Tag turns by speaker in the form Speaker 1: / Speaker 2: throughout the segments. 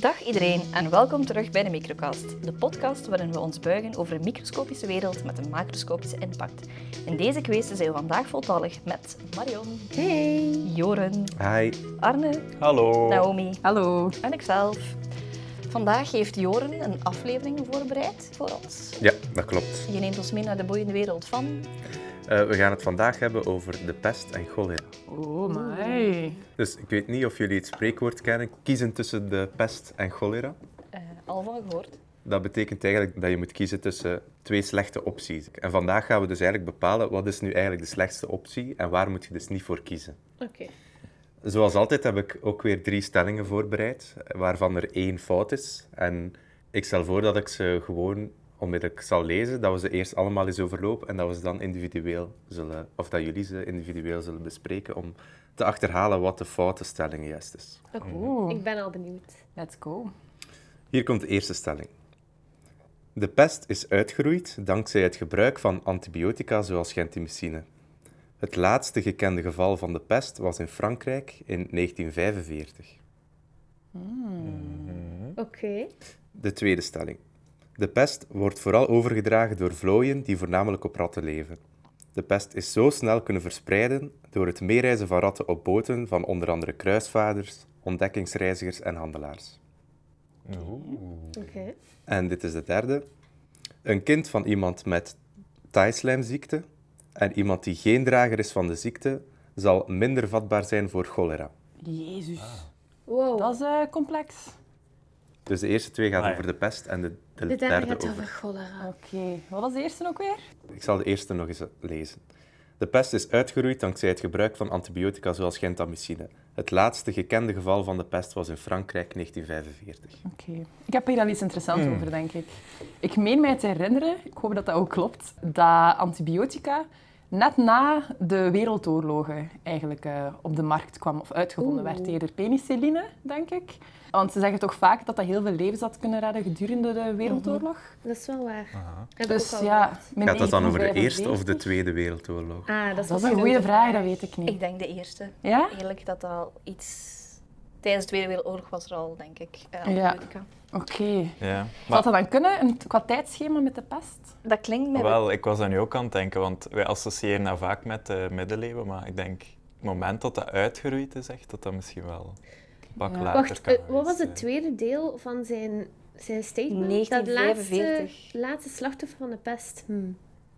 Speaker 1: Dag iedereen en welkom terug bij de Microcast, de podcast waarin we ons buigen over een microscopische wereld met een macroscopische impact. In deze kwestie zijn we vandaag voltallig met Marion,
Speaker 2: Hey.
Speaker 1: Joren,
Speaker 3: Hi.
Speaker 1: Arne,
Speaker 3: Hallo.
Speaker 1: Naomi
Speaker 2: Hallo.
Speaker 1: en ikzelf. Vandaag heeft Joren een aflevering voorbereid voor ons.
Speaker 3: Ja, dat klopt.
Speaker 1: Je neemt ons mee naar de boeiende wereld van.
Speaker 3: Eh, we gaan het vandaag hebben over de pest en cholera.
Speaker 2: Oh my.
Speaker 3: Dus ik weet niet of jullie het spreekwoord kennen, kiezen tussen de pest en cholera.
Speaker 1: eh, al van gehoord.
Speaker 3: Dat betekent eigenlijk dat je moet kiezen tussen twee slechte opties. En vandaag gaan we dus eigenlijk bepalen wat is nu eigenlijk de slechtste optie en waar moet je dus niet voor kiezen.
Speaker 2: Oké.
Speaker 3: Zoals altijd heb ik ook weer drie stellingen voorbereid, waarvan er één fout is. En ik stel voor dat ik ze gewoon onmiddellijk zal lezen, dat we ze eerst allemaal eens overlopen en dat we ze dan individueel zullen, of dat jullie ze individueel zullen bespreken om te achterhalen wat de foute stelling juist is.
Speaker 2: Oeh.
Speaker 4: Ik ben al benieuwd.
Speaker 2: Let's go.
Speaker 3: Hier komt de eerste stelling. De pest is uitgeroeid dankzij het gebruik van antibiotica zoals gentamicine. Het laatste gekende geval van de pest was in Frankrijk in 1945.
Speaker 4: Oké.
Speaker 3: De tweede stelling. De pest wordt vooral overgedragen door vlooien die voornamelijk op ratten leven. De pest is zo snel kunnen verspreiden door het meereizen van ratten op boten van onder andere kruisvaarders, ontdekkingsreizigers en handelaars.
Speaker 4: Oké.
Speaker 3: En dit is de derde. Een kind van iemand met thaislijmziekte en iemand die geen drager is van de ziekte zal minder vatbaar zijn voor cholera.
Speaker 2: Jezus.
Speaker 3: Ah.
Speaker 4: Wow.
Speaker 2: Dat is eh, complex.
Speaker 3: Dus de eerste twee gaan
Speaker 5: Ah, ja.
Speaker 3: over de pest en de, de,
Speaker 4: de derde
Speaker 3: derde
Speaker 4: gaat
Speaker 3: over
Speaker 4: over Oh. cholera.
Speaker 2: Oké. Wat was de eerste ook weer?
Speaker 3: Ik zal de eerste nog eens lezen. De pest is uitgeroeid dankzij het gebruik van antibiotica zoals gentamicine. Het laatste gekende geval van de pest was in Frankrijk 1945.
Speaker 2: Oké. Ik heb hier al iets interessants
Speaker 3: Hmm.
Speaker 2: over, denk ik. Ik meen mij te herinneren, ik hoop dat dat ook klopt, dat antibiotica net na de wereldoorlogen eigenlijk eh, op de markt kwam of uitgevonden werd. Eerder penicilline, denk ik. Want ze zeggen toch vaak dat dat heel veel levens had kunnen redden gedurende de wereldoorlog.
Speaker 4: Dat is wel waar. Heb ik
Speaker 2: Dus
Speaker 4: ook al
Speaker 2: ja,
Speaker 4: gehoord.
Speaker 2: mijn
Speaker 3: Gaat dat dan over de Eerste of de
Speaker 2: 1945?
Speaker 3: Tweede Wereldoorlog?
Speaker 4: Ah, dat is,
Speaker 2: Dat is een
Speaker 4: misschien
Speaker 2: goede
Speaker 4: ook-
Speaker 2: vraag, dat weet ik niet.
Speaker 1: Ik denk de eerste.
Speaker 2: Ja?
Speaker 1: Eigenlijk dat dat al iets... Tijdens de Tweede Wereldoorlog was er al, denk ik, eh,
Speaker 2: Ja.
Speaker 1: antibiotica.
Speaker 2: Oké.
Speaker 5: Ja,
Speaker 2: Zou
Speaker 5: maar
Speaker 2: dat dan kunnen, een, qua tijdschema met de pest?
Speaker 1: Dat klinkt mij wel-
Speaker 5: wel, ik was daar nu ook aan het denken, want wij associëren dat vaak met de middeleeuwen, maar ik denk het moment dat dat uitgeroeid is, echt, dat dat misschien wel een pak
Speaker 2: Ja.
Speaker 5: later
Speaker 4: Wacht,
Speaker 5: kan
Speaker 4: eh, wat was
Speaker 5: geweest
Speaker 4: het
Speaker 5: zijn.
Speaker 4: tweede deel van zijn, zijn statement?
Speaker 1: 1945.
Speaker 4: Dat laatste, laatste slachtoffer van de pest. Hm.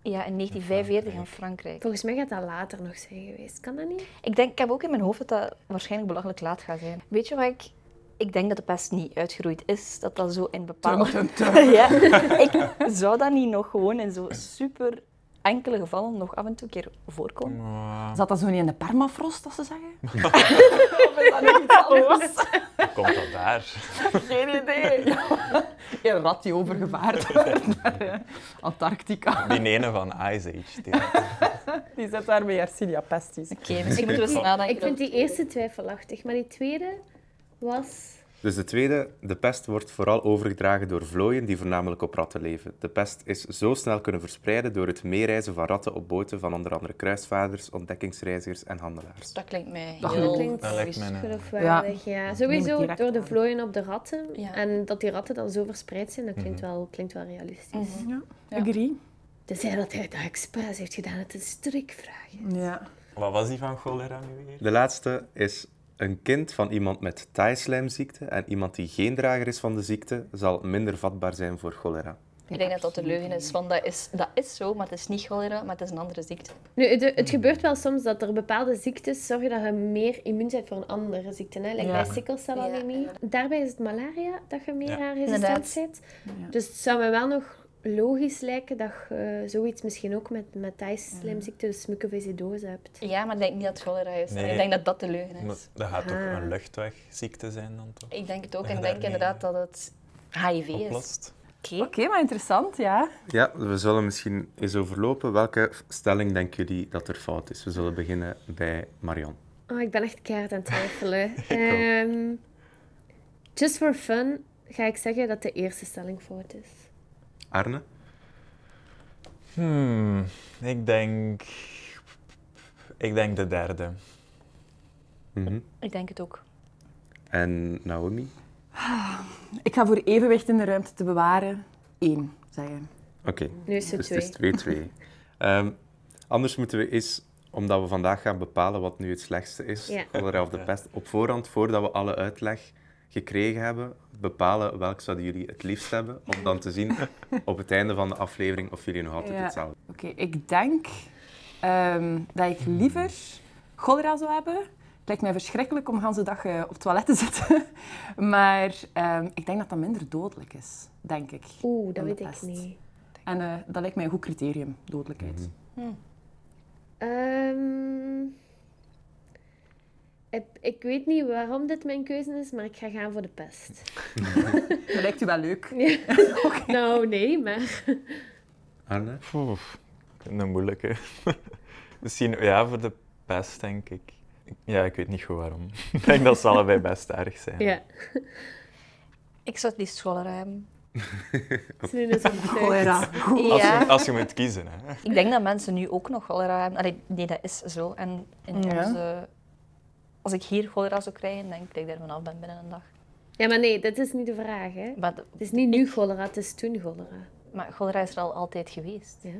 Speaker 1: Ja, in 1945 in Frankrijk.
Speaker 4: Volgens mij gaat dat later nog zijn geweest. Kan dat niet?
Speaker 1: Ik, denk, ik heb ook in mijn hoofd dat dat waarschijnlijk belachelijk laat gaat zijn. Weet je wat ik... Ik denk dat de pest niet uitgeroeid is, dat dat zo in bepaalde... ja, ik zou dat niet nog gewoon in zo super enkele gevallen nog af en toe een keer voorkomen.
Speaker 5: Maar
Speaker 2: Zat dat zo niet in de permafrost, dat ze zeggen? of is dat nog iets anders?
Speaker 5: Komt dat daar?
Speaker 2: Geen idee. Een rat die overgevaard wordt naar eh, Antarctica.
Speaker 5: Die ene van Ice Age. Die,
Speaker 2: Die zit daar bij Yersinia pestis.
Speaker 1: Oké, misschien moeten we eens nadenken.
Speaker 4: Ik vind die eerste twijfelachtig, maar die tweede was...
Speaker 3: Dus de tweede, de pest wordt vooral overgedragen door vlooien die voornamelijk op ratten leven. De pest is zo snel kunnen verspreiden door het meereizen van ratten op boten van onder andere kruisvaarders, ontdekkingsreizigers en handelaars.
Speaker 1: Dat klinkt mij
Speaker 2: Dat
Speaker 1: heel...
Speaker 4: klinkt
Speaker 5: dat lijkt me een-
Speaker 4: geloofwaardig, ja.
Speaker 2: Neem
Speaker 4: Sowieso
Speaker 2: direct
Speaker 4: door de
Speaker 2: aan.
Speaker 4: vlooien op de ratten.
Speaker 1: Ja.
Speaker 4: En dat die ratten dan zo verspreid zijn, dat klinkt wel, klinkt wel realistisch.
Speaker 2: Ja. Agree.
Speaker 4: Tenzij dat Dus hij dat expres heeft gedaan. Het is een strikvraag.
Speaker 2: Ja.
Speaker 5: wat was die van cholera nu weer?
Speaker 3: De laatste is een kind van iemand met thaislijmziekte en iemand die geen drager is van de ziekte zal minder vatbaar zijn voor cholera.
Speaker 1: Ik denk dat dat de leugen is, want dat is, dat is zo, maar het is niet cholera, maar het is een andere ziekte.
Speaker 4: Nu, de- het gebeurt wel soms dat er bepaalde ziektes zorgen dat je meer immuun bent voor een andere ziekte. Hè? Like
Speaker 2: Ja.
Speaker 4: bij sikkelcelanemie. Daarbij is het malaria dat je meer
Speaker 5: Ja.
Speaker 4: aan
Speaker 1: Inderdaad.
Speaker 4: resistent bent. Dus het zou me wel nog logisch lijken dat je eh, zoiets misschien ook met, met thaislijmziekte, dus mucoviscidose hebt.
Speaker 1: Ja, maar ik denk niet dat het cholera is.
Speaker 5: Nee.
Speaker 1: Ik denk dat dat de leugen
Speaker 5: Maar
Speaker 1: is.
Speaker 5: Dat gaat toch
Speaker 4: Ah.
Speaker 5: een luchtwegziekte zijn dan toch?
Speaker 1: Ik denk het ook.
Speaker 5: Ja,
Speaker 1: En ik
Speaker 5: daar
Speaker 1: denk
Speaker 5: niet.
Speaker 1: inderdaad dat het HIV is.
Speaker 5: Oplost?
Speaker 1: Oké.
Speaker 2: Oké, maar interessant, ja.
Speaker 3: Ja, we zullen misschien eens overlopen welke stelling denken jullie dat er fout is. We zullen beginnen bij Marion.
Speaker 4: Oh, ik ben echt keihard aan het twijfelen. Ehm, just for fun ga ik zeggen dat de eerste stelling fout is.
Speaker 3: Arne?
Speaker 5: Hmm, ik denk... Ik denk de derde.
Speaker 3: Mhm.
Speaker 1: Ik denk het ook.
Speaker 3: En Naomi?
Speaker 2: Ik ga voor evenwicht in de ruimte te bewaren één zeggen.
Speaker 3: Oké,
Speaker 4: Nu is het
Speaker 3: dus
Speaker 4: twee.
Speaker 3: het is 2-2. Ehm, anders moeten we eens, omdat we vandaag gaan bepalen wat nu het slechtste is,
Speaker 4: Ja.
Speaker 3: Cholera of de Pest, op voorhand, voordat we alle uitleg gekregen hebben, bepalen welk zouden jullie het liefst hebben, om dan te zien op het einde van de aflevering of jullie nog altijd
Speaker 2: Ja.
Speaker 3: hetzelfde
Speaker 2: Oké, ik denk ehm, dat ik liever cholera zou hebben. Het lijkt mij verschrikkelijk om de hele dag eh, op het toilet te zitten. maar ehm, ik denk dat dat minder dodelijk is, denk ik.
Speaker 4: Oeh, dat
Speaker 2: Dan de
Speaker 4: weet ik
Speaker 2: pest.
Speaker 4: niet.
Speaker 2: En eh, dat lijkt mij een goed criterium, dodelijkheid.
Speaker 4: Ehm, ik, ik weet niet waarom dit mijn keuze is, maar ik ga gaan voor de pest.
Speaker 2: Dat lijkt u wel leuk.
Speaker 4: Nou, nee, maar...
Speaker 3: Arne?
Speaker 5: Oef, een moeilijke. Misschien, ja, voor de pest, denk ik. Ik- Ja, ik weet niet goed waarom. Ik denk dat ze allebei best erg zijn.
Speaker 4: Ja,
Speaker 1: Ik zou het liefst cholera hebben.
Speaker 4: ze is dus overtuigd.
Speaker 2: Cholera. Goed.
Speaker 5: Als,
Speaker 1: Ja.
Speaker 5: je, als je moet kiezen, hè.
Speaker 1: Ik denk dat mensen nu ook nog cholera hebben. Allee, nee, dat is zo. En in
Speaker 2: Ja.
Speaker 1: onze- als ik hier cholera zou krijgen, denk ik dat ik daar vanaf ben binnen een dag.
Speaker 4: Ja, maar nee, dat is niet de vraag, hè.
Speaker 1: Maar, de-
Speaker 4: Het is niet nu cholera, het is toen cholera.
Speaker 1: maar cholera is er al altijd geweest.
Speaker 4: Ja.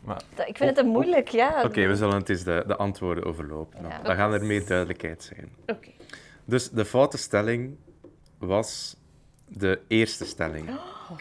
Speaker 5: Maar-
Speaker 1: Dat- ik vind het een moeilijk, ja.
Speaker 3: Oké, we zullen het eens de, de antwoorden overlopen. Dan.
Speaker 1: Ja.
Speaker 3: dan gaan er meer duidelijkheid zijn.
Speaker 4: Oké.
Speaker 3: Dus de foute stelling was de eerste stelling.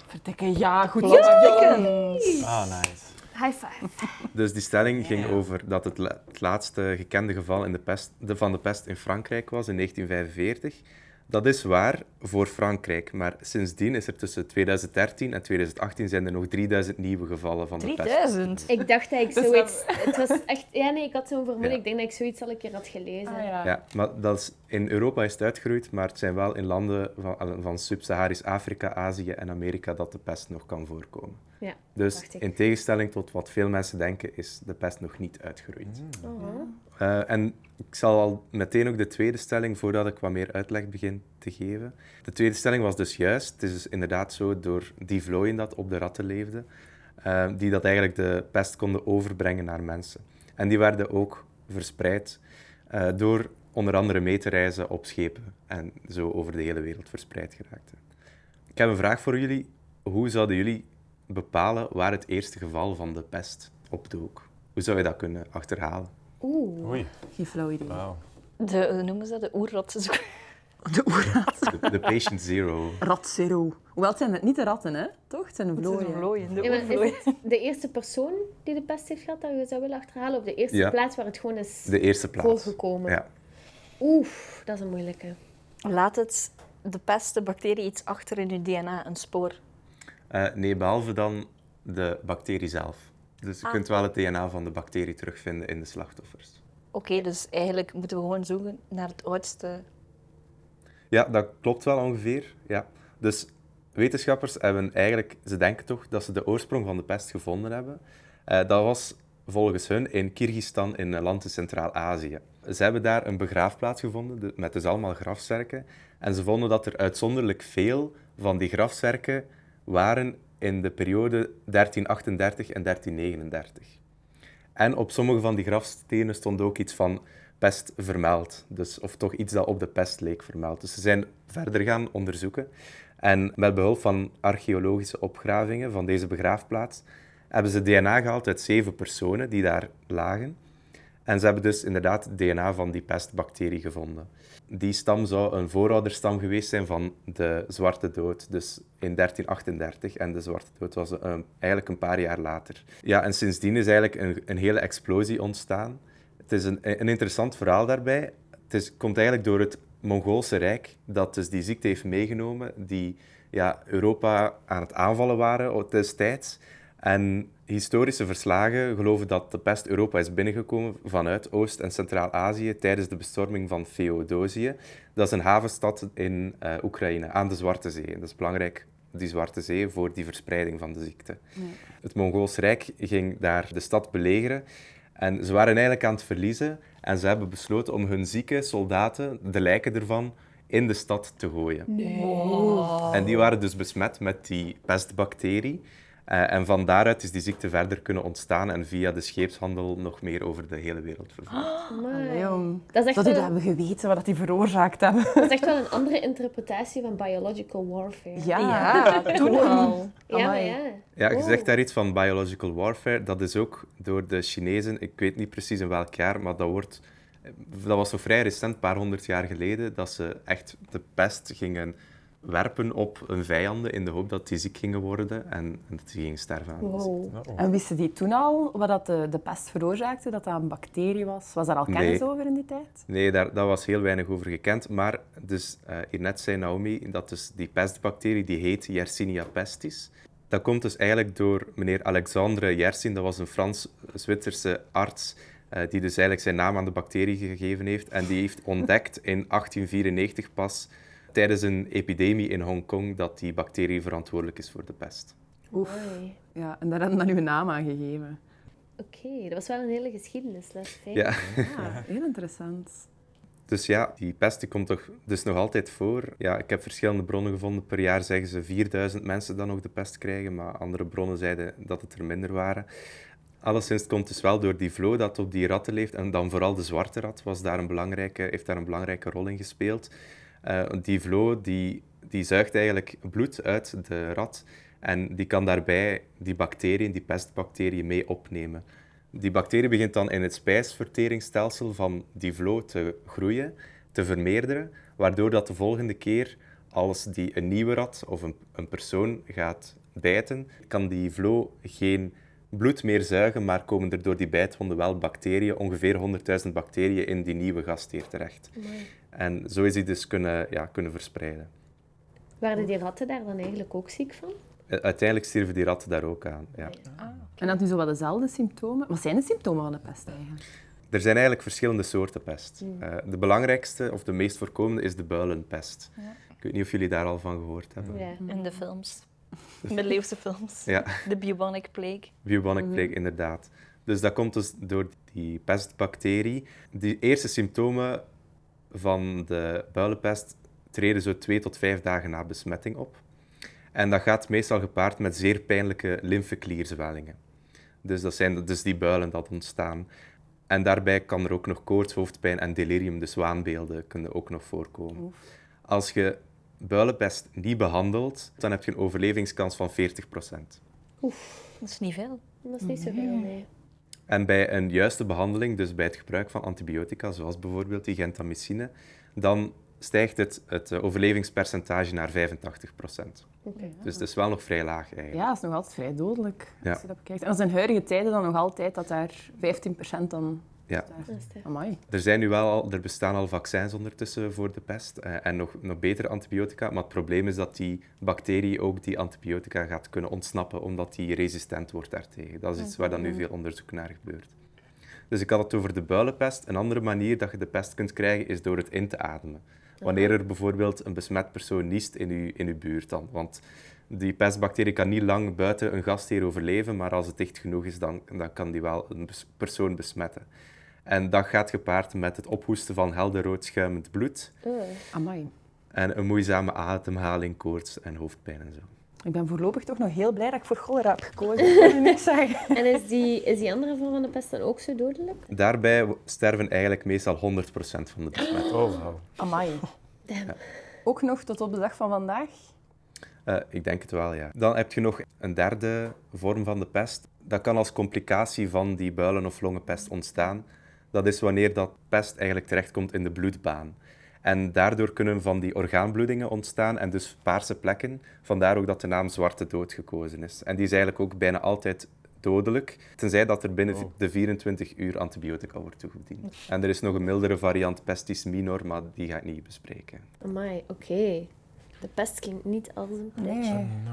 Speaker 2: Verdikke, ja, goed.
Speaker 5: Ah, nice.
Speaker 1: High five.
Speaker 3: Dus die stelling ging over dat het, la- het laatste gekende geval in de pest, de, van de pest in Frankrijk was in 1945. Dat is waar voor Frankrijk, maar sindsdien is er tussen 2013 en 2018 zijn er nog 3000 nieuwe gevallen van de pest.
Speaker 1: 3000.
Speaker 4: Ik dacht dat ik
Speaker 2: Dus
Speaker 4: zoiets... Het was echt... Ja, nee, ik had zo'n vermoeden.
Speaker 3: Ja.
Speaker 4: Ik denk dat ik zoiets al een keer had gelezen.
Speaker 2: Ah, ja.
Speaker 3: Ja, maar dat is, in Europa is het uitgeroeid, maar het zijn wel in landen van, van Sub-Saharisch Afrika, Azië en Amerika dat de pest nog kan voorkomen.
Speaker 4: Ja,
Speaker 3: Dus
Speaker 4: dacht ik.
Speaker 3: in tegenstelling tot wat veel mensen denken, is de pest nog niet uitgeroeid.
Speaker 2: Mhm.
Speaker 4: Oh.
Speaker 3: Eh, en ik zal al meteen ook de tweede stelling, voordat ik wat meer uitleg begin te geven. De tweede stelling was dus juist. Het is dus inderdaad zo door die vlooien dat op de ratten leefden, eh, die dat eigenlijk de pest konden overbrengen naar mensen. En die werden ook verspreid eh, door onder andere mee te reizen op schepen en zo over de hele wereld verspreid geraakt. Ik heb een vraag voor jullie. Hoe zouden jullie bepalen waar het eerste geval van de pest opdook? Hoe zou je dat kunnen achterhalen?
Speaker 4: Oeh.
Speaker 5: Oei,
Speaker 2: Geen flauw idee.
Speaker 5: wauw.
Speaker 1: De, hoe noemen ze dat? De oerrotse
Speaker 2: De oerrat.
Speaker 3: De, de patient zero.
Speaker 2: Rat zero. Hoewel, het zijn het niet de ratten, hè? Toch? Het zijn de vlooien.
Speaker 1: vlooien. De
Speaker 4: Ja, maar
Speaker 1: oervlooien.
Speaker 4: is het de eerste persoon die de pest heeft gehad dat je zou willen achterhalen? Of de eerste
Speaker 3: Ja.
Speaker 4: plaats waar het gewoon is
Speaker 3: De eerste plaats.
Speaker 4: voorgekomen?
Speaker 3: Ja.
Speaker 4: Oef, dat is een moeilijke.
Speaker 1: Laat het de pest, de bacterie, iets achter in je DNA, een spoor.
Speaker 3: Eh, nee, behalve dan de bacterie zelf. Dus je kunt wel het DNA van de bacterie terugvinden in de slachtoffers.
Speaker 1: Oké, dus eigenlijk moeten we gewoon zoeken naar het oudste.
Speaker 3: Ja, dat klopt wel ongeveer. Ja. Dus wetenschappers hebben eigenlijk, ze denken toch dat ze de oorsprong van de pest gevonden hebben. Eh, dat was volgens hun in Kyrgyzstan in een land in Centraal-Azië. Ze hebben daar een begraafplaats gevonden de- met dus allemaal grafzerken. En ze vonden dat er uitzonderlijk veel van die grafzerken waren in de periode 1338 en 1339. En op sommige van die grafstenen stond ook iets van pest vermeld. Dus, of toch iets dat op de pest leek vermeld. Dus ze zijn verder gaan onderzoeken. En met behulp van archeologische opgravingen van deze begraafplaats hebben ze DNA gehaald uit zeven personen die daar lagen. En ze hebben dus inderdaad DNA van die pestbacterie gevonden. Die stam zou een voorouderstam geweest zijn van de Zwarte Dood, dus in 1338. En de Zwarte Dood was eh, eigenlijk een paar jaar later. Ja, en sindsdien is eigenlijk een, een hele explosie ontstaan. Het is een, een interessant verhaal daarbij. Het is, komt eigenlijk door het Mongoolse Rijk, dat dus die ziekte heeft meegenomen, die ja, Europa aan het aanvallen waren o- destijds. En historische verslagen geloven dat de pest Europa is binnengekomen vanuit Oost- en Centraal-Azië tijdens de bestorming van Theodosië. Dat is een havenstad in eh, Oekraïne, aan de Zwarte Zee. Dat is belangrijk, die Zwarte Zee, voor die verspreiding van de ziekte. Het Mongools Rijk ging daar de stad belegeren. En ze waren eigenlijk aan het verliezen. En ze hebben besloten om hun zieke soldaten, de lijken ervan, in de stad te gooien. En die waren dus besmet met die pestbacterie. Eh, en van daaruit is die ziekte verder kunnen ontstaan en via de scheepshandel nog meer over de hele wereld vervoerd.
Speaker 4: Amai.
Speaker 2: Allee, jong.
Speaker 4: Dat
Speaker 2: Dat
Speaker 4: is, echt
Speaker 2: Ah, die
Speaker 4: wel,
Speaker 2: dat hebben geweten, wat dat die veroorzaakt hebben.
Speaker 4: dat is echt wel een andere interpretatie van biological warfare.
Speaker 2: Ja,
Speaker 1: toen al.
Speaker 4: ja, maar
Speaker 2: amai.
Speaker 4: ja.
Speaker 3: Ja, je
Speaker 4: Wow.
Speaker 3: zegt daar iets van biological warfare. Dat is ook door de Chinezen, ik weet niet precies in welk jaar, maar dat wordt... eh, Dat was zo vrij recent, een paar honderd jaar geleden, dat ze echt de pest gingen werpen op hun vijanden in de hoop dat die ziek gingen worden en, en dat die gingen sterven aan. de ziekte.
Speaker 4: Wow.
Speaker 2: En wisten die toen al wat dat de, de pest veroorzaakte, dat dat een bacterie was? Was daar al kennis
Speaker 3: Nee.
Speaker 2: over in die tijd?
Speaker 3: Nee, daar, daar was heel weinig over gekend. Maar dus, eh hier net zei Naomi dat dus die pestbacterie, die heet Yersinia pestis. Dat komt dus eigenlijk door meneer Alexandre Yersin. Dat was een Frans-Zwitserse arts eh, die dus eigenlijk zijn naam aan de bacterie gegeven heeft. En die heeft ontdekt in 1894 pas tijdens een epidemie in Hongkong dat die bacterie verantwoordelijk is voor de pest.
Speaker 2: Oef.
Speaker 4: Amai.
Speaker 2: Ja, en daar hebben we dan uw naam aan gegeven.
Speaker 4: Oké, dat was wel een hele geschiedenisles. hè?
Speaker 3: Ja.
Speaker 2: Ja, Ah, heel interessant.
Speaker 3: Dus ja, die pest die komt toch dus nog altijd voor. Ja, ik heb verschillende bronnen gevonden. Per jaar zeggen ze 4000 mensen dan nog de pest krijgen, maar andere bronnen zeiden dat het er minder waren. Alleszins het komt dus wel door die flow dat op die ratten leeft. En dan vooral de zwarte rat was daar een belangrijke, heeft daar een belangrijke rol in gespeeld. Eh, die flow die, die zuigt eigenlijk bloed uit de rat. En die kan daarbij die bacteriën, die pestbacteriën, mee opnemen. Die bacterie begint dan in het spijsverteringsstelsel van die vlo te groeien, te vermeerderen, waardoor dat de volgende keer als die een nieuwe rat of een, een persoon gaat bijten, kan die vlo geen bloed meer zuigen, maar komen er door die bijtwonden wel bacteriën, ongeveer 100.000 bacteriën, in die nieuwe gastheer terecht. En zo is die dus kunnen, ja, kunnen verspreiden.
Speaker 4: Waren die ratten daar dan eigenlijk ook ziek van?
Speaker 3: U- Eh, Uiteindelijk stierven die ratten daar ook aan. Ja.
Speaker 2: En dat nu zo wat dezelfde symptomen. Wat zijn de symptomen van de pest eigenlijk?
Speaker 3: Er zijn eigenlijk verschillende soorten pest. Eh, de belangrijkste of de meest voorkomende is de builenpest. Ik weet niet of jullie daar al van gehoord hebben.
Speaker 4: Ja.
Speaker 1: In
Speaker 2: Mhm.
Speaker 1: de films. Middeleeuwse films.
Speaker 3: Ja,
Speaker 1: De Bubonic Plague.
Speaker 3: bubonic plague inderdaad. Dus dat komt dus door die pestbacterie. De eerste symptomen van de builenpest treden zo twee tot vijf dagen na besmetting op. En dat gaat meestal gepaard met zeer pijnlijke lymfeklierzwellingen. Dus dat zijn dus die builen dat ontstaan. En daarbij kan er ook nog koorts, hoofdpijn en delirium, dus waanbeelden, kunnen ook nog voorkomen. Als je builenpest niet behandelt, dan heb je een overlevingskans van 40%.
Speaker 1: Dat is niet veel.
Speaker 4: Dat is niet zoveel, nee.
Speaker 3: En bij een juiste behandeling, dus bij het gebruik van antibiotica, zoals bijvoorbeeld die gentamicine, dan stijgt het, het eh, overlevingspercentage naar 85
Speaker 4: Oké.
Speaker 3: Dus dat is wel nog vrij laag eigenlijk.
Speaker 2: Ja, dat is nog altijd vrij dodelijk.
Speaker 3: Ja.
Speaker 2: Als je dat bekijkt. En dat is in huidige tijden dan nog altijd dat daar 15% dan...
Speaker 3: Ja.
Speaker 4: Dat is het.
Speaker 2: Amai.
Speaker 3: Er, zijn nu wel al, er bestaan al vaccins ondertussen voor de pest eh, en nog, nog betere antibiotica, maar het probleem is dat die bacterie ook die antibiotica gaat kunnen ontsnappen, omdat die resistent wordt daartegen. Dat is iets waar dan nu veel onderzoek naar gebeurt. Dus ik had het over de builenpest. Een andere manier dat je de pest kunt krijgen is door het in te ademen. Wanneer er bijvoorbeeld een besmet persoon niest in uw, in uw buurt dan. Want die pestbacterie kan niet lang buiten een gastheer overleven, maar als het dicht genoeg is, dan, dan kan die wel een bes- persoon besmetten. En dat gaat gepaard met het ophoesten van helder rood schuimend bloed
Speaker 4: Eh,
Speaker 2: Amai.
Speaker 3: en een moeizame ademhaling, koorts en hoofdpijn en zo.
Speaker 2: Ik ben voorlopig toch nog heel blij dat ik voor cholera heb gekozen. Ik kan je niks zeggen.
Speaker 4: En is die, is die andere vorm van de pest dan ook zo dodelijk?
Speaker 3: Daarbij w- sterven eigenlijk meestal 100% van de besmetten.
Speaker 5: Oh, wauw.
Speaker 2: Amai.
Speaker 4: Damn.
Speaker 2: Ook nog tot op de dag van vandaag.
Speaker 3: Eh, ik denk het wel, ja. Dan heb je nog een derde vorm van de pest. Dat kan als complicatie van die builen- of longenpest ontstaan. Dat is wanneer dat pest eigenlijk terechtkomt in de bloedbaan. En daardoor kunnen van die orgaanbloedingen ontstaan en dus paarse plekken. Vandaar ook dat de naam zwarte dood gekozen is. En die is eigenlijk ook bijna altijd dodelijk, tenzij dat er binnen
Speaker 5: Wow.
Speaker 3: de 24 uur antibiotica wordt toegediend. En er is nog een mildere variant, pestis minor, maar die ga ik niet bespreken.
Speaker 4: Amai, oké. De pest klinkt niet als een plek.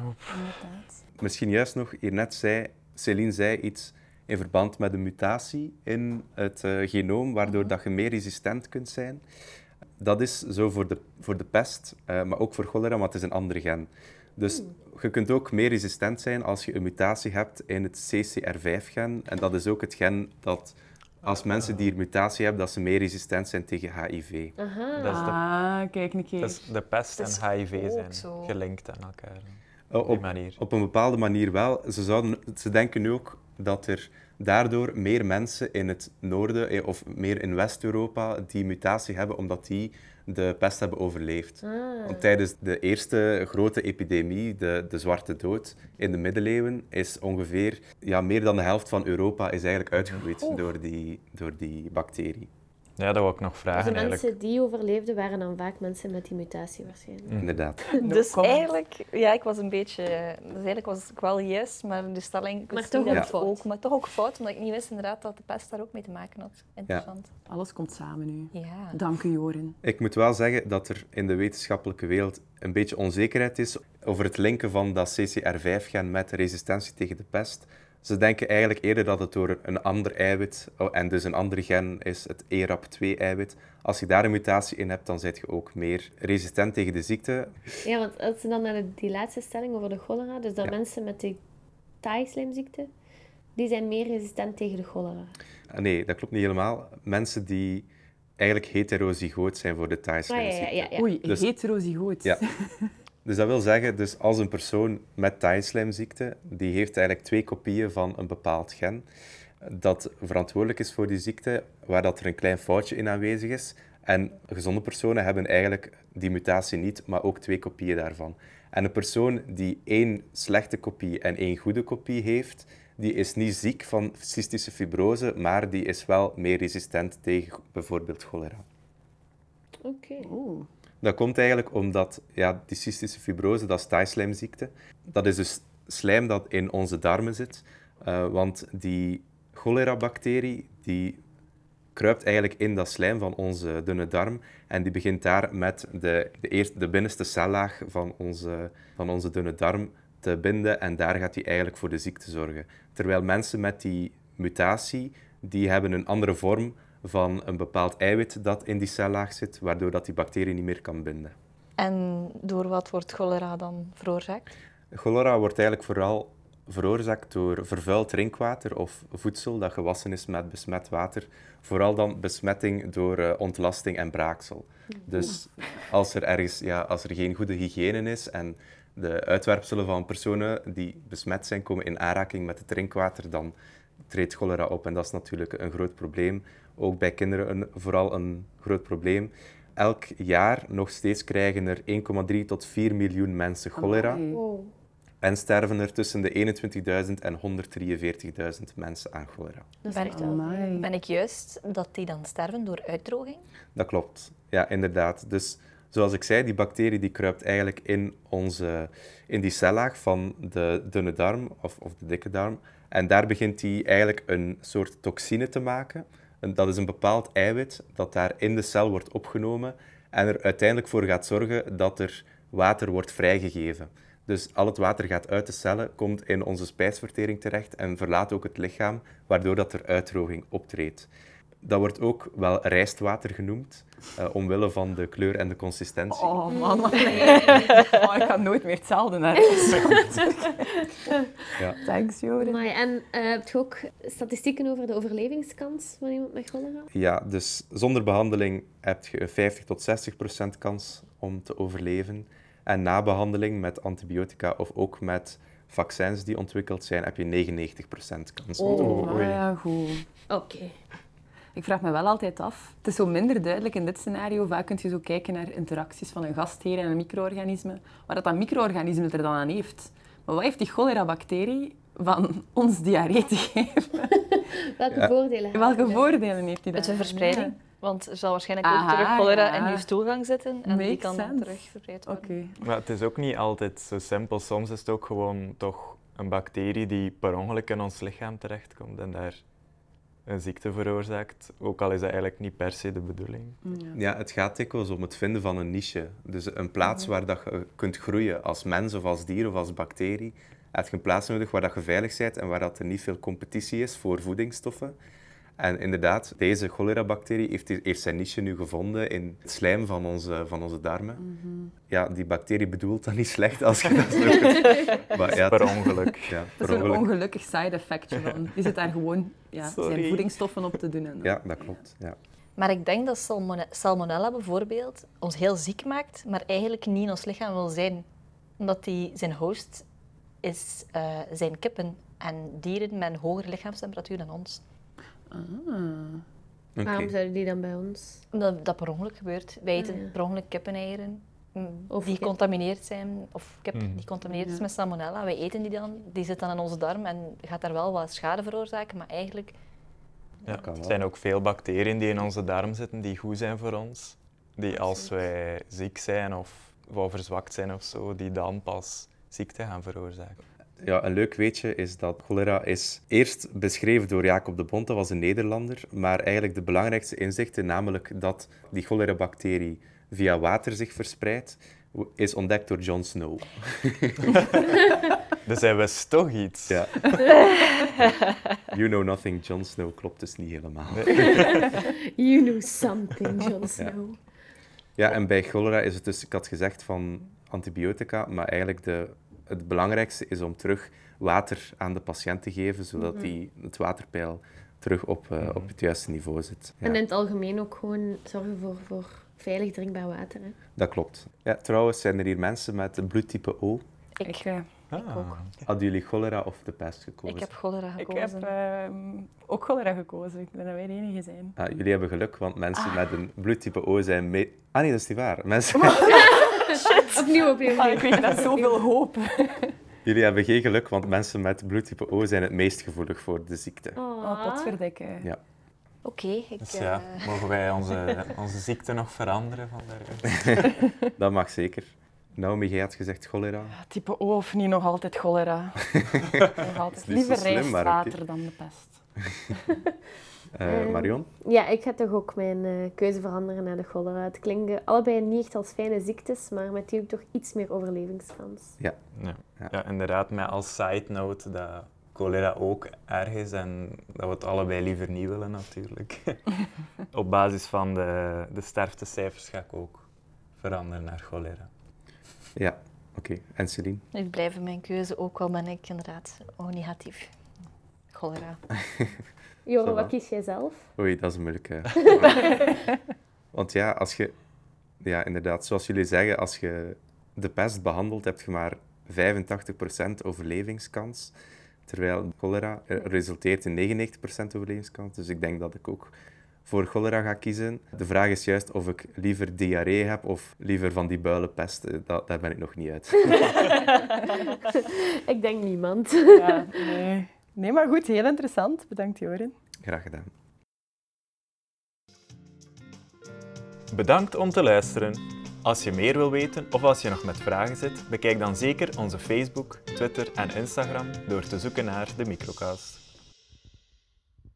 Speaker 2: inderdaad.
Speaker 3: misschien juist nog, hier net zei, Céline zei iets in verband met een mutatie in het eh, genoom, waardoor dat je meer resistent kunt zijn. Dat is zo voor de, voor de pest, eh, maar ook voor cholera, maar het is een andere gen. Dus je kunt ook meer resistent zijn als je een mutatie hebt in het CCR5-gen. En dat is ook het gen dat als mensen die een mutatie hebben, dat ze meer resistent zijn tegen HIV.
Speaker 4: Aha.
Speaker 5: Dat is de,
Speaker 2: Ah, kijk een keer.
Speaker 5: dat is de pest
Speaker 1: Ah, Dat is
Speaker 5: en HIV
Speaker 1: ook
Speaker 5: zijn
Speaker 1: zo.
Speaker 5: gelinkt aan elkaar.
Speaker 3: Oké, Eh, op,
Speaker 5: Oh, op die manier.
Speaker 3: op een bepaalde manier wel. Ze, zouden, ze denken nu ook dat er daardoor meer mensen in het noorden eh, of meer in West-Europa die mutatie hebben, omdat die de pest hebben overleefd.
Speaker 4: Ah.
Speaker 3: Want tijdens de eerste grote epidemie, de, de Zwarte Dood, in de middeleeuwen, is ongeveer ja, meer dan de helft van Europa is eigenlijk uitgeroeid door, die, door die bacterie.
Speaker 5: Ja, dat wil ik nog
Speaker 4: Dus de
Speaker 5: vragen eigenlijk.
Speaker 4: mensen die overleefden waren dan vaak mensen met die mutatie waarschijnlijk.
Speaker 3: Inderdaad.
Speaker 1: dus
Speaker 2: comment.
Speaker 1: eigenlijk, ja, ik was een beetje... Dus eigenlijk was ik wel yes, maar de stelling... ik
Speaker 4: Maar
Speaker 1: wist
Speaker 4: toch
Speaker 1: niet dat
Speaker 4: ook
Speaker 1: het
Speaker 4: fout.
Speaker 1: Ook, maar toch ook fout, omdat ik niet wist inderdaad dat de pest daar ook mee te maken had. Interessant.
Speaker 2: Alles komt samen nu.
Speaker 1: Ja.
Speaker 2: Dank u, Joren.
Speaker 3: Ik moet wel zeggen dat er in de wetenschappelijke wereld een beetje onzekerheid is over het linken van dat CCR5-gen met resistentie tegen de pest. Ze denken eigenlijk eerder dat het door een ander eiwit, oh, en dus een ander gen is het E ERAP2-eiwit. Als je daar een mutatie in hebt, dan zit je ook meer resistent tegen de ziekte.
Speaker 4: Ja, want als ze dan naar de- die laatste stelling over de cholera, dus dat mensen met de thaislijmziekte, die zijn meer resistent tegen de cholera.
Speaker 3: Ah, Nee, dat klopt niet helemaal. Mensen die eigenlijk heterozygoot zijn voor de thais
Speaker 4: Ah, ja, ja, ja, ja.
Speaker 2: Oei,
Speaker 3: Dus-
Speaker 2: heterozygoot.
Speaker 3: Ja. Dus dat wil zeggen, dus als een persoon met Thai-slijmziekte, die heeft eigenlijk twee kopieën van een bepaald gen dat verantwoordelijk is voor die ziekte, waar dat er een klein foutje in aanwezig is. En gezonde personen hebben eigenlijk die mutatie niet, maar ook twee kopieën daarvan. En een persoon die één slechte kopie en één goede kopie heeft, die is niet ziek van cystische fibrose, maar die is wel meer resistent tegen bijvoorbeeld cholera.
Speaker 4: Oké.
Speaker 2: Oeh.
Speaker 3: Dat komt eigenlijk omdat ja, die cystische fibrose, dat is taaislijmziekte. Dat is dus slijm dat in onze darmen zit. Eh, want die cholera-bacterie die kruipt eigenlijk in dat slijm van onze dunne darm. En die begint daar met de, de, eerste, de binnenste cellaag van onze, van onze dunne darm te binden. En daar gaat die eigenlijk voor de ziekte zorgen. Terwijl mensen met die mutatie, die hebben een andere vorm van een bepaald eiwit dat in die cellaag zit, waardoor dat die bacterie niet meer kan binden.
Speaker 1: En door wat wordt cholera dan veroorzaakt?
Speaker 3: Cholera wordt eigenlijk vooral veroorzaakt door vervuild drinkwater of voedsel dat gewassen is met besmet water. Vooral dan besmetting door eh, ontlasting en braaksel. Dus als er, ergens, ja, als er geen goede hygiëne is en de uitwerpselen van personen die besmet zijn komen in aanraking met het drinkwater, dan treedt cholera op. En dat is natuurlijk een groot probleem. Ook bij kinderen een, vooral een groot probleem. Elk jaar nog steeds krijgen er 1,3 tot 4 miljoen mensen cholera.
Speaker 2: Amai.
Speaker 4: Wow.
Speaker 3: En sterven er tussen de 21.000 en 143.000 mensen aan cholera.
Speaker 4: Dat is
Speaker 1: Ben-
Speaker 4: echt wel...
Speaker 2: Amai.
Speaker 1: Ben ik juist dat die dan sterven door uitdroging?
Speaker 3: Dat klopt. Ja, inderdaad. Dus zoals ik zei, die bacterie die kruipt eigenlijk in, onze, in die cellaag van de dunne darm of, of de dikke darm. En daar begint die eigenlijk een soort toxine te maken. En dat is een bepaald eiwit dat daar in de cel wordt opgenomen en er uiteindelijk voor gaat zorgen dat er water wordt vrijgegeven. Dus al het water gaat uit de cellen, komt in onze spijsvertering terecht en verlaat ook het lichaam, waardoor dat er uitdroging optreedt. Dat wordt ook wel rijstwater genoemd, eh, omwille van de kleur en de consistentie.
Speaker 2: Oh man, oh, ik ga nooit meer hetzelfde naar
Speaker 3: Ja.
Speaker 2: Thanks, Joren.
Speaker 4: Amai, En eh heb je ook statistieken over de overlevingskans van iemand met cholera?
Speaker 3: Ja, dus zonder behandeling heb je een 50 tot 60 procent kans om te overleven. En na behandeling met antibiotica of ook met vaccins die ontwikkeld zijn, heb je 99 procent kans. om te
Speaker 5: Oh, oei.
Speaker 2: Ah, ja, goed.
Speaker 4: Oké.
Speaker 2: Ik vraag me wel altijd af. Het is zo minder duidelijk in dit scenario. Vaak kun je zo kijken naar interacties van een gastheer en een micro-organisme. Maar dat dat micro-organisme het er dan aan heeft. Maar wat heeft die cholera-bacterie van ons diarree te geven?
Speaker 4: Welke
Speaker 3: Ja.
Speaker 4: voordelen hebben
Speaker 2: Welke
Speaker 4: we?
Speaker 2: voordelen heeft die dan?
Speaker 1: Het is een verspreiding. Want er zal waarschijnlijk ook
Speaker 2: Aha,
Speaker 1: terug cholera
Speaker 2: ja.
Speaker 1: in uw stoelgang zitten. En die
Speaker 2: Makes
Speaker 1: kan
Speaker 2: sense.
Speaker 1: terug verspreid
Speaker 2: Oké.
Speaker 1: worden.
Speaker 5: Maar het is ook niet altijd zo simpel. Soms is het ook gewoon toch een bacterie die per ongeluk in ons lichaam terechtkomt en daar een ziekte veroorzaakt. Ook al is dat eigenlijk niet per se de bedoeling.
Speaker 3: Ja, het gaat dikwijls om het vinden van een niche. Dus een
Speaker 2: Mhm.
Speaker 3: plaats waar dat je kunt groeien als mens of als dier of als bacterie. Heb je een plaats nodig waar dat je veilig bent en waar dat er niet veel competitie is voor voedingsstoffen. En inderdaad, deze cholera-bacterie heeft, heeft zijn niche nu gevonden in het slijm van onze, van onze darmen.
Speaker 2: Mhm.
Speaker 3: Ja, die bacterie bedoelt dat niet slecht als je dat zo kunt- Maar ja,
Speaker 5: Per
Speaker 3: het-
Speaker 5: ongeluk.
Speaker 3: ja,
Speaker 2: Dat
Speaker 3: per
Speaker 2: is een
Speaker 3: ongeluk.
Speaker 2: ongelukkig side effectje van. Die zit daar gewoon ja, zijn
Speaker 5: Sorry.
Speaker 2: voedingsstoffen op te doen. En
Speaker 3: Ja, dat klopt. Ja.
Speaker 1: Maar ik denk dat salmone- salmonella bijvoorbeeld ons heel ziek maakt, maar eigenlijk niet in ons lichaam wil zijn. Omdat die zijn host is, eh, zijn kippen en dieren met een hogere lichaamstemperatuur dan ons.
Speaker 2: Ah.
Speaker 3: Oké.
Speaker 4: Waarom zouden die dan bij ons?
Speaker 1: Omdat dat per ongeluk gebeurt. Wij eten
Speaker 4: Ah,
Speaker 2: Mm.
Speaker 4: ja.
Speaker 1: per ongeluk kippeneieren mm,
Speaker 4: Of
Speaker 1: die
Speaker 4: kip.
Speaker 1: gecontamineerd zijn, of kip
Speaker 5: Mhm.
Speaker 1: die gecontamineerd is
Speaker 2: Ja.
Speaker 1: met salmonella. Wij eten die dan, die zit dan in onze darm en gaat daar wel wat schade veroorzaken, maar eigenlijk
Speaker 5: Ja,
Speaker 3: kan
Speaker 5: er
Speaker 3: wel.
Speaker 5: zijn ook veel bacteriën die in onze darm zitten die goed zijn voor ons. Die als
Speaker 4: Absoluut.
Speaker 5: wij ziek zijn of wat verzwakt zijn of zo, die dan pas ziekte gaan veroorzaken.
Speaker 3: Ja, een leuk weetje is dat cholera is eerst beschreven door Jacob de Bont, dat was een Nederlander, maar eigenlijk de belangrijkste inzichten, namelijk dat die cholerabacterie via water zich verspreidt, w- is ontdekt door Jon Snow.
Speaker 5: Dus hij wist toch iets.
Speaker 3: Ja. you know nothing, Jon Snow klopt dus niet helemaal.
Speaker 4: You know something, Jon Snow.
Speaker 3: Snow. Ja, en bij cholera is het dus, ik had gezegd van antibiotica, maar eigenlijk de, het belangrijkste is om terug water aan de patiënt te geven, zodat
Speaker 4: Mhm.
Speaker 3: die, het waterpeil terug op, eh, op het juiste niveau zit. Ja.
Speaker 4: En in het algemeen ook gewoon zorgen voor, voor veilig drinkbaar water. Hè.
Speaker 3: Dat klopt. Ja, trouwens zijn er hier mensen met een bloedtype O.
Speaker 1: Ik-
Speaker 2: Ik, eh,
Speaker 5: Ah.
Speaker 1: ook.
Speaker 3: Hadden jullie cholera of de pest gekozen?
Speaker 1: ik heb cholera
Speaker 2: ik
Speaker 1: gekozen.
Speaker 2: heb ehm, ook cholera gekozen. Ik denk dat wij de enige zijn.
Speaker 3: Ah, jullie hebben geluk, want mensen met een bloedtype O zijn... Me... Ah nee, dat is niet waar. Mensen...
Speaker 4: Opnieuw, opnieuw,
Speaker 2: Ah,
Speaker 4: opnieuw.
Speaker 2: ik weet dat zoveel hoop.
Speaker 3: jullie hebben geen geluk, want mensen met bloedtype O zijn het meest gevoelig voor de ziekte.
Speaker 2: Oh,
Speaker 4: Ah.
Speaker 2: potverdikke.
Speaker 3: Ja.
Speaker 1: Oké, ik...
Speaker 5: Dus ja,
Speaker 1: eh,
Speaker 5: mogen wij onze, onze ziekte nog veranderen van daaruit?
Speaker 3: Dat mag zeker. Naomi, jij had gezegd cholera.
Speaker 2: Type O of niet, nog altijd cholera. nog altijd.
Speaker 3: zo
Speaker 2: Liever
Speaker 3: slim, maar oké.
Speaker 2: rijstwater dan de pest.
Speaker 3: Eh,
Speaker 4: Ehm,
Speaker 3: Marion?
Speaker 4: Ja, ik ga toch ook mijn eh, keuze veranderen naar de cholera. Het klinken allebei niet echt als fijne ziektes, maar met die ook toch iets meer overlevingskans.
Speaker 5: Ja.
Speaker 3: Ja.
Speaker 5: ja, inderdaad, met als side note dat cholera ook erg is en dat we het allebei liever niet willen natuurlijk. Op basis van de, de sterftecijfers ga ik ook veranderen naar cholera.
Speaker 3: Ja, oké. En Celine?
Speaker 1: Ik blijf in mijn keuze, ook al ben ik inderdaad ook negatief. Cholera.
Speaker 4: Joren,
Speaker 3: Zo
Speaker 4: wat
Speaker 3: wel.
Speaker 4: kies jij zelf?
Speaker 3: Oei, dat is een moeilijke. Want ja, als je... Ja, inderdaad. Zoals jullie zeggen, als je de pest behandelt, heb je maar 85% overlevingskans. Terwijl cholera eh, resulteert in 99% overlevingskans. Dus ik denk dat ik ook voor cholera ga kiezen. De vraag is juist of ik liever diarree heb of liever van die builenpest. Eh, Dat, daar ben ik nog niet uit.
Speaker 4: Ik denk niemand.
Speaker 2: Ja, nee. nee, maar goed, heel interessant. Bedankt, Jorin.
Speaker 3: Graag gedaan.
Speaker 5: Bedankt om te luisteren. Als je meer wil weten of als je nog met vragen zit, bekijk dan zeker onze Facebook, Twitter en Instagram door te zoeken naar de Microcast.